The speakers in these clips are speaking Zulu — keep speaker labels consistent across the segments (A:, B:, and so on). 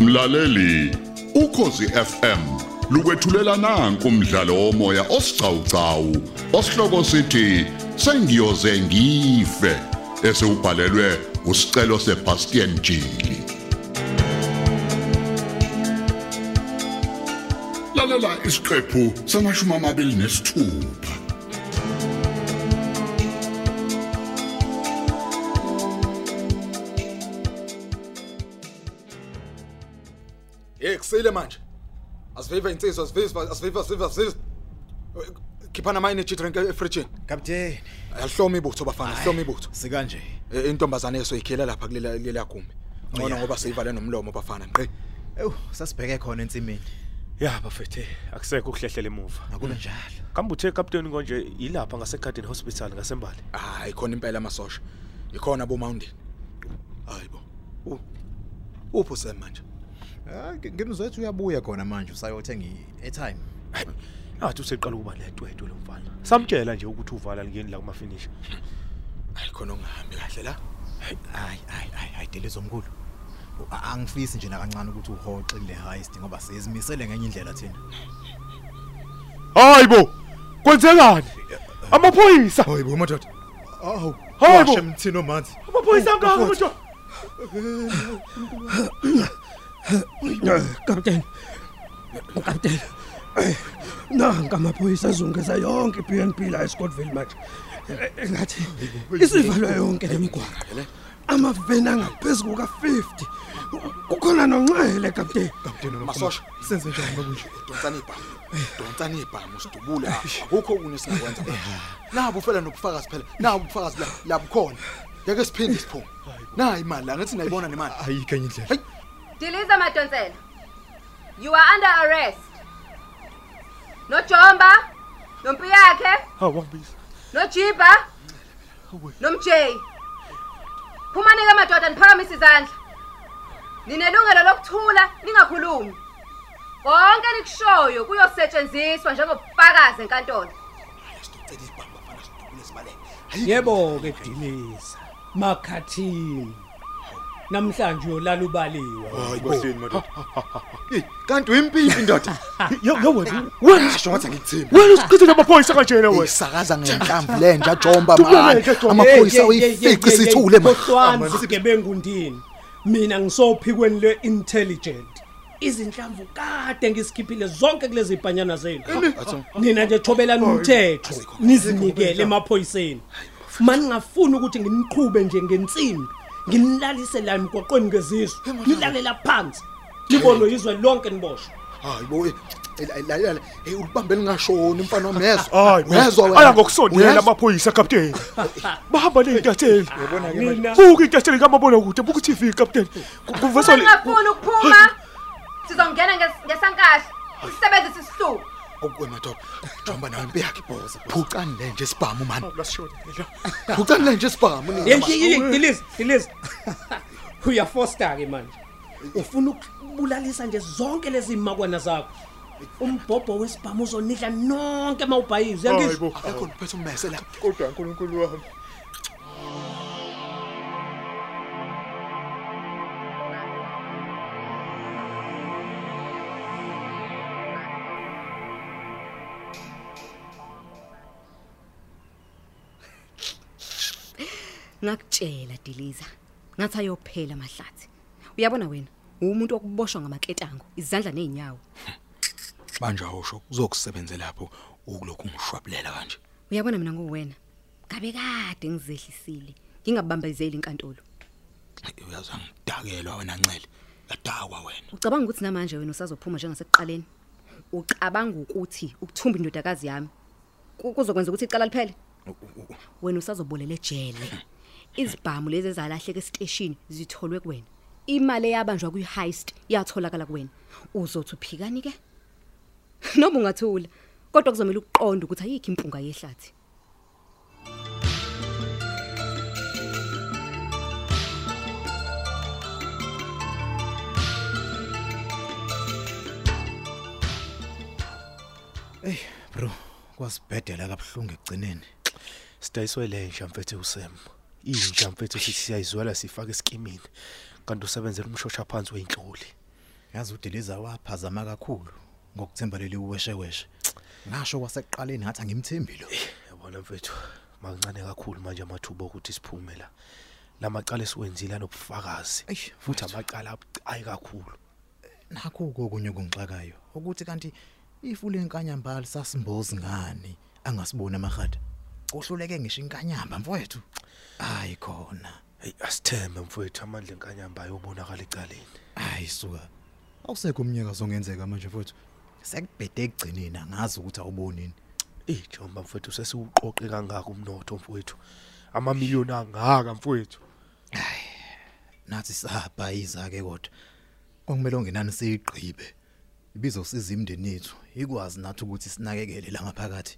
A: Mlaleli, ukhosi FM lukwethulela nanku umdlalo womoya osiqhawqhawo osihloko sithi sengiyoze ngife esewubhalelwe usicelo seBastian Jili. Lalela isiqephu samashumi amabili nesithupha.
B: hey kusile manje asiviva insizwa asiviva asiviva asiviva asiviva khiphana ama-energy drink efrijini
C: Captain,
B: alihloma ibutho bafana alihloma ibutho
C: sika nje.
B: Eh, intombazane esoyikhela lapha kulela- kulela gumbi ngcono
C: ya,
B: ngoba siyivale nomlomo bafana nqi
C: Ew, sasibheke khona ensimini.
D: ya bafethe akusekho ukuhlehlela emuva
C: Akulo njalo.
D: kambe uthe kapteni konje yilapha ngasegarden hospital ngasembali
B: hayi khona impela amasosha ikhona bomawundini hayi bo U- uphi usem manje
C: Ah, ngimzethu uyabuya khona manje usayothenga i-airtime.
D: athi useqala ukuba netwetwe lo mfana samtshela nje ukuthi uvala lingeni la kumafinisha
B: hayi khona ongahambi kahle la
C: Hayi, hayi, hayi, hayi delizo mkhulu. U- a- Angifisi nje nakancane ukuthi uhoxe kule heist ngoba sizimisele ngenye indlela thina.
D: hayi bo kwenzekani amaphoyisa
C: Hayibo madoda. Awu.
D: Hayi bo!
C: washe mthini omanzi.
D: amaphoyisa angaka manje
E: Kapteni. Kapteni. Nanga amaphoyisa azungeza yonke i-PNP la eScottville manje. Eh, eh, Ngathi isivalwa yonke lemigwaqo. Amaveni angaphezulu ka-50. Kukhona nonxele kapteni.
B: masosha
C: Senze njani manje?
B: donsani ibhamu donsani ibhamu usidubule akukho okunye esingakwenza manje nabo phela nobufakazi phela nabo ubufakazi la- la bukhona yake siphinde isiphunga nayi imali la ngathi nayibona nemali
C: Ayikho enye indlela.
F: Diliza Madonsela. You are under arrest. Nojomba, nompi yakhe,
D: awambisa
F: nojiba, nomjay. Phumani ke madoda niphakamise izandla. Ninelungelo lokuthula ningakhulumi. Konke likushoyo kuyosetshenziswa njengobufakazi enkantolo.
B: Sidocela izibhamu bafana sidubule sibaleke
E: Yebo ke Diliza. Makhathini. Namhlanje uyolala ubaliwe.
B: hayi kanti uyimpimpi ndoda
D: yowena
B: wengisho ngathi angikuthembi
D: wena usichithile amaphoyisa kanjena wena
B: isakaza ngenhlamvu le nje ajomba
D: Dubuleke,
B: manje
D: Jomba.
B: amaphoyisa uyifice isithule manje
E: Kodwa sigebengu ndini? Mina ngisophikweni le intelligent. Izinhlamvu kade ngisikhiphile zonke kulezi ibhanyana zenu. Nina nje thobelana umthetho nizinikele emaphoyiseni. Mani ngafuna ukuthi nginiqhube nje ngensimbi. Nginilalise la emgwaqweni ngeziso. Nilalela phansi. Libono izwe lonke niboshwe.
B: hayi bo eh, lalela hey ulibambe lingashoni umfana wami yezwa
D: hayi bo aya ngokusondela amaphoyisa kapteni bahamba ney'ntatheli
E: Mina
D: buka iy'ntatheli kamabona kude buka i-tv kapteni kuveswa
F: Ungafuna ukuphuma. Sizongena nges- ngesankahle. Sisebenzise isihluku.
B: okuwe madoda jomba nawe impi yakhe ibhoza phucani le nje isibhamu mani phucani le nje isibhamu nina mani.
E: Yeyiyidilize, dilize. Uyafoster ke manje. Ufuna ukubulalisa nje zonke lezi makwana zakho. Umbhobho wesibhamu uzonidla nonke mawubhayize ngizwe.
B: akekho ndiphethe ummese la
C: Kodwa uNkulunkulu wami.
G: ngakutshela diliza ngathi ayophela amahlathi uyabona wena umuntu okuboshwa ngamaketango izandla neenyawo
B: manje awusho kuzokusebenze lapho ukulokhu ngishwabulela kanje
G: uyabona mina nguwena ngabe kade ngizehlisile ngingabambezeli inkantolo
B: uyazwa ngidakelwa wena ncele yadakwa wena
G: ucabanga ukuthi namanje wena usazophuma njengasekuqaleni ucabanga ukuthi ukuthumba indodakazi yami ku- kuzokwenza ukuthi icala liphele wena usazobolela ejele izibhamu lezi ezalahleka esiteshini zitholwe kuwena imali eyabanjwa kwi-heist yatholakala kuwena uzothi uphikani ke noma ungathula kodwa kuzomela ukuqonda ukuthi ayikho impunga yehlathi
C: Bro, kwasibhedela kabuhlungu ekugcineni.
D: sidayiswe le nja mfethu usem inja mfethu sithi siyayizwela sifake esikimini kanti usebenzela umshosha phansi wey'nhloli
C: yazi udeliza waphazama kakhulu ngokuthemba leli uwesheweshe ngasho kwasekuqaleni ngathi angimthembile
B: Eh.
D: yabona mfethu mancane kakhulu manje amathuba okuthi siphume la la macala esiwenzile anobufakazi
C: Eish,
D: futhi amacala abucayi kakhulu
C: nakho kokunye kungixakayo ukuthi kanti ifu lenkanyambali sasimbozi ngani angasibona amahada kohluleke ngisho inkanyamba mfowethu hayi khona
D: heyi asithembe mfowethu amandla enkanyamba ayobonakala ecaleni
C: hayi suka awusekho umnyaka zongenzeka manje mfowethu sekubhede ekugcineni angazi ukuthi awubonini
D: eyi jomba mfowethu sesiwuqoqe kangaka umnotho mfowethu amamiliyoni angaka mfowethu
C: nathi sabhayiza ke kodwa okumele ongenani siyigqibe ibizo siza imndeni yethu ikwazi nathi ukuthi sinakekele la ngaphakathi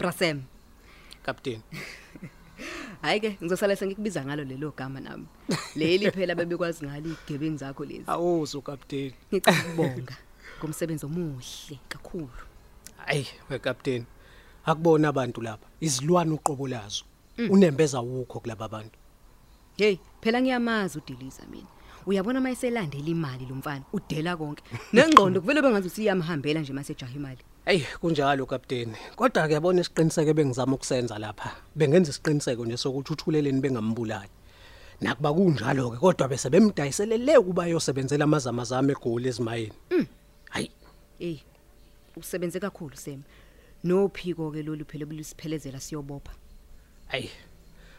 G: brasem
H: kapteni
G: hhayi ke ngizosala sengikubiza ngalo lelo gama nami leli phela bebekwazi ngalo iy'gebengu zakho lezi
H: awuzo kapteni
G: ngicabonga ngomsebenzi omuhle kakhulu
H: hayi wekapteni akubona abantu lapha izilwane uqobo lazo unembeza wukho kulaba bantu
G: heyi phela ngiyamazi udiliza mina uyabona uma eselandela imali lo mfana udela konke nengqondo kuvele bengazi ukuthi iyamhambela nje masejaha imali
H: eyi kunjalo kapteni kodwa ke yabona isiqiniseko bengizama ukusenza lapha bengenza isiqiniseko nje sokuthi uthuleleni bengambulali nakuba kunjalo-ke kodwa bese bemdayiselele ukuba ayosebenzela amazama zami egoli ezimayeni hayi
G: eyi usebenze kakhulu sem nophiko-ke lolu phela obelusiphelezela siyobopha
H: hayi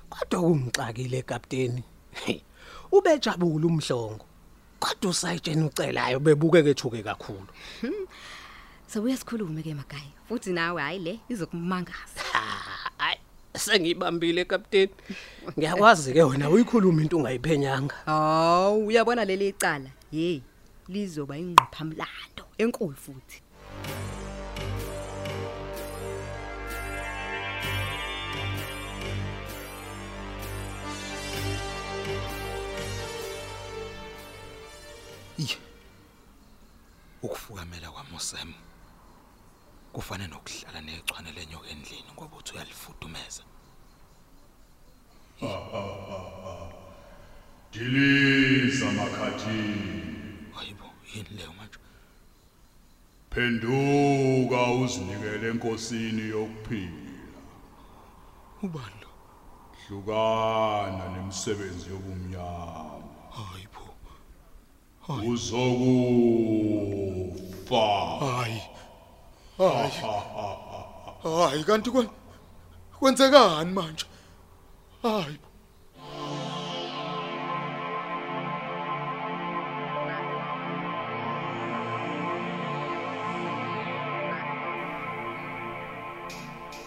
H: kodwa ungixakile kapteni ubejabule umhlongo kodwa usayitsheni ucelayo bebuke kethuke kakhulu
G: sewuyasikhulume-ke magaya futhi nawe hhayi le izokumangaza
H: hayi sengiyibambile kapteni ngiyakwazi ke wena uyikhuluma into ungayiphenyanga
G: hawu uyabona leli cala yeyi lizoba ingqophamlando enkulu futhi
C: Iye. Ukufukamela kwaMosem. Kufana nokuhlala nechwane lenyoka endlini ngoba uthi uyalifudumeza.
A: Diliza makhathini.
C: Hayibo, yini leyo manje?
A: Phenduka uzinikele enkosini yokuphila.
C: Ubani lo?
A: Hlukana nemisebenzi yobumnyama.
C: Hayibo.
A: Uzokufa.
B: hayi hayi hayi kanti kwen- kwenzekani manje hayi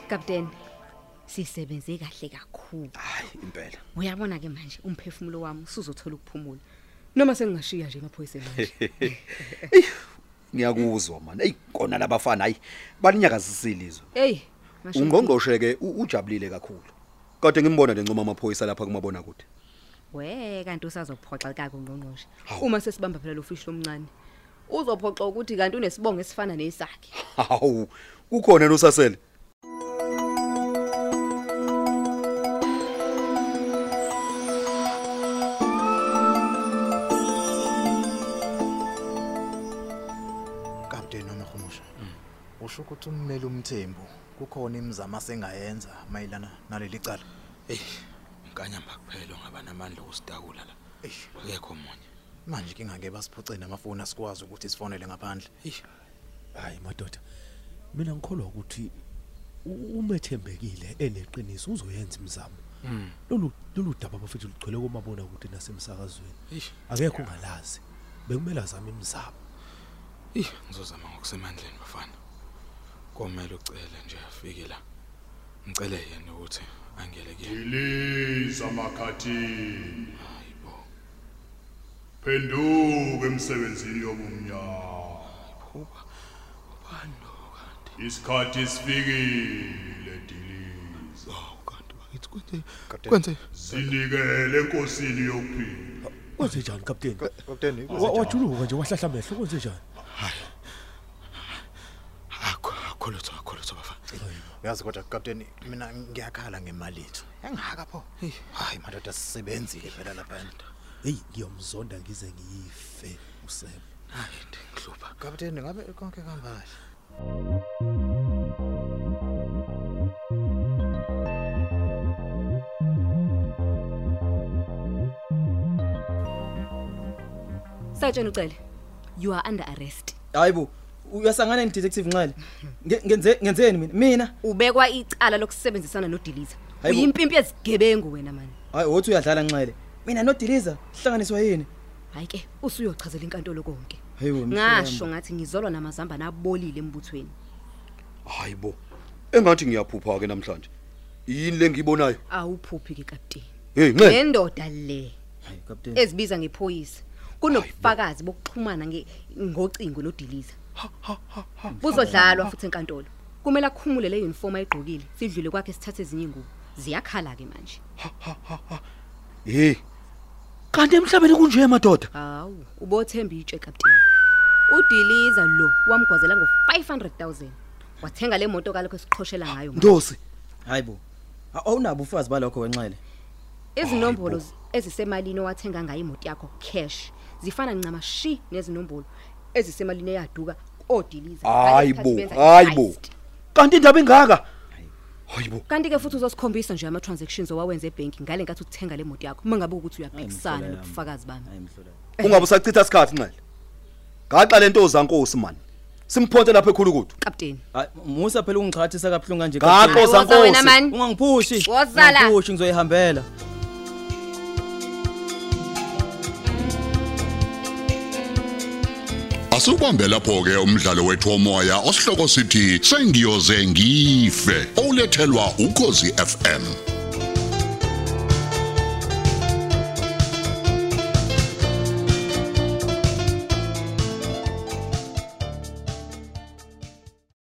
G: kapteni sisebenze kahle kakhulu
C: Hayi impela.
G: uyabona ke manje umphefumulo wami usuzothola ukuphumula noma sengingashiya nje emaphoyiseni manje
I: ngiyakuzwa mani eyi kona labafana hayi balinyakazisa ilizwe
G: eyi ngasho
H: Um-
G: ngithi-
I: ungqongqoshe-ke u- ujabulile kakhulu kade ngimbona lencuma amaphoyisa lapha kumabona kude
G: we kanti usazophoxekake ungqongqoshe uma sesibamba phela lo fishi lomncane uzophoxa ukuthi kanti unesibongo esifana nesakhe
I: hawu kukhona nosasele
C: Kapteni Nomahumusha. Usho ukuthi ummeli umthembu kukhona imizamo asengayenza mayelana naleli cala.
J: inkanyamba kuphela ongaba namandla okusidakula la
C: Eish.
J: akekho omunye
C: Manje kingake basiphucene amafoni asikwazi ukuthi sifonele ngaphandle.
D: hhayi madoda mina ngikholwa ukuthi u- umethembekile eneqiniso uzoyenza imizamo lolu lolu daba bafethu lugcwele komabona kude nasemsakazweni akekho ongalazi bekumele azame imizamo
J: eyi ngizozama ngokusemandleni bafana komele ucele nje afike la ngicele yena ukuthi angele kuyena
A: Diliza makhathini.
J: hayi bo
A: Phenduka emsebenzini yobumnyama.
J: uba ubani lo kanti
A: Isikhathi sifikile Diliza.
J: awu kanti bakithi kwenze kwenze
A: Sinikele enkosini yokuphila.
D: kwenze njani kapteni
C: Kapteni
D: Wa- wajuluka nje wahlahla amehlo kwenze njani
B: akho lutho akho lutho bafana
K: uyazi kodwa kapteni mina ngiyakhala ngemali yethu engihaka pho hayi madoda sisebenzi ke phela lapha
L: heyi ngiyomzonda ngize ngiyife usebo
B: hayi ndingihlupa
K: kapteni ngabe konke kambali
G: satshena ucele you are under arrest
H: hayi bo uyasangana nidetective nxele Nge- ngenze ngenzeni mina mina
G: ubekwa icala lokusebenzisana nodiliza
H: Hayi bo.
G: uyimpimpi yezigebengu wena mani
H: hayi wothi uyadlala nxele mina nodiliza hlanganiswa yini
G: hayi ke usuyochazela inkantolo konke
H: hayi bo mfowethu.
G: ngasho ngathi ngizolwa namazambane abolile embuthweni
C: hayi bo engathi ngiyaphupha ke namhlanje yini le ngiyibonayo
G: awuphuphi ke kapteni
C: hey nxe
G: nendoda le ezibiza ngephoyisa kunobufakazi bokuxhumana nge- ngocingo nodiliza buzodlalwa futhi enkantolo kumele akhumule le uniform ayigqokile sidlule kwakhe sithathe ezinye ingubo ziyakhala ke manje
C: hey kanti emhlabeni kunje madoda
G: hawu ubothemba itshe kapteni udiliza lo wamgwazela ngo-500 000 wathenga le moto kalokho esiqhoshela ngayo manje.
H: ndosi hayi bo A- awunabo ufazi balokho wenxele
G: izinombolo z- ezisemalini owathenga ngayo imoto yakho cash zifana ncama shi nezinombolo ezisemalini eyaduka odiliza
C: hayi bo hayi bo kanti indaba ingaka hayi bo
G: kanti-ke futhi uzosikhombisa nje ama-transactions owawenza ebhenki ngale nkathi uthenga le moto yakho uma ngabe ukuthi uyaphikisana nobufakazi bami
C: ungabe usachitha isikhathi nxele gaxa lento zankosi man simphonte lapha ekhulukudu
G: kapteni
H: hayi musa phela ungichathisa kabuhlungu kanje
C: Gaxo,
H: Kapteni.
C: zankosi. Woza wena,
G: mani.
H: ungangiphushi
G: Wozala.
H: Ungangiphushi, ngizoyihambela
A: Asubambe lapho ke umdlalo wethu womoya osihloko sithi sengiyoze ngife olethelwa ukozi FM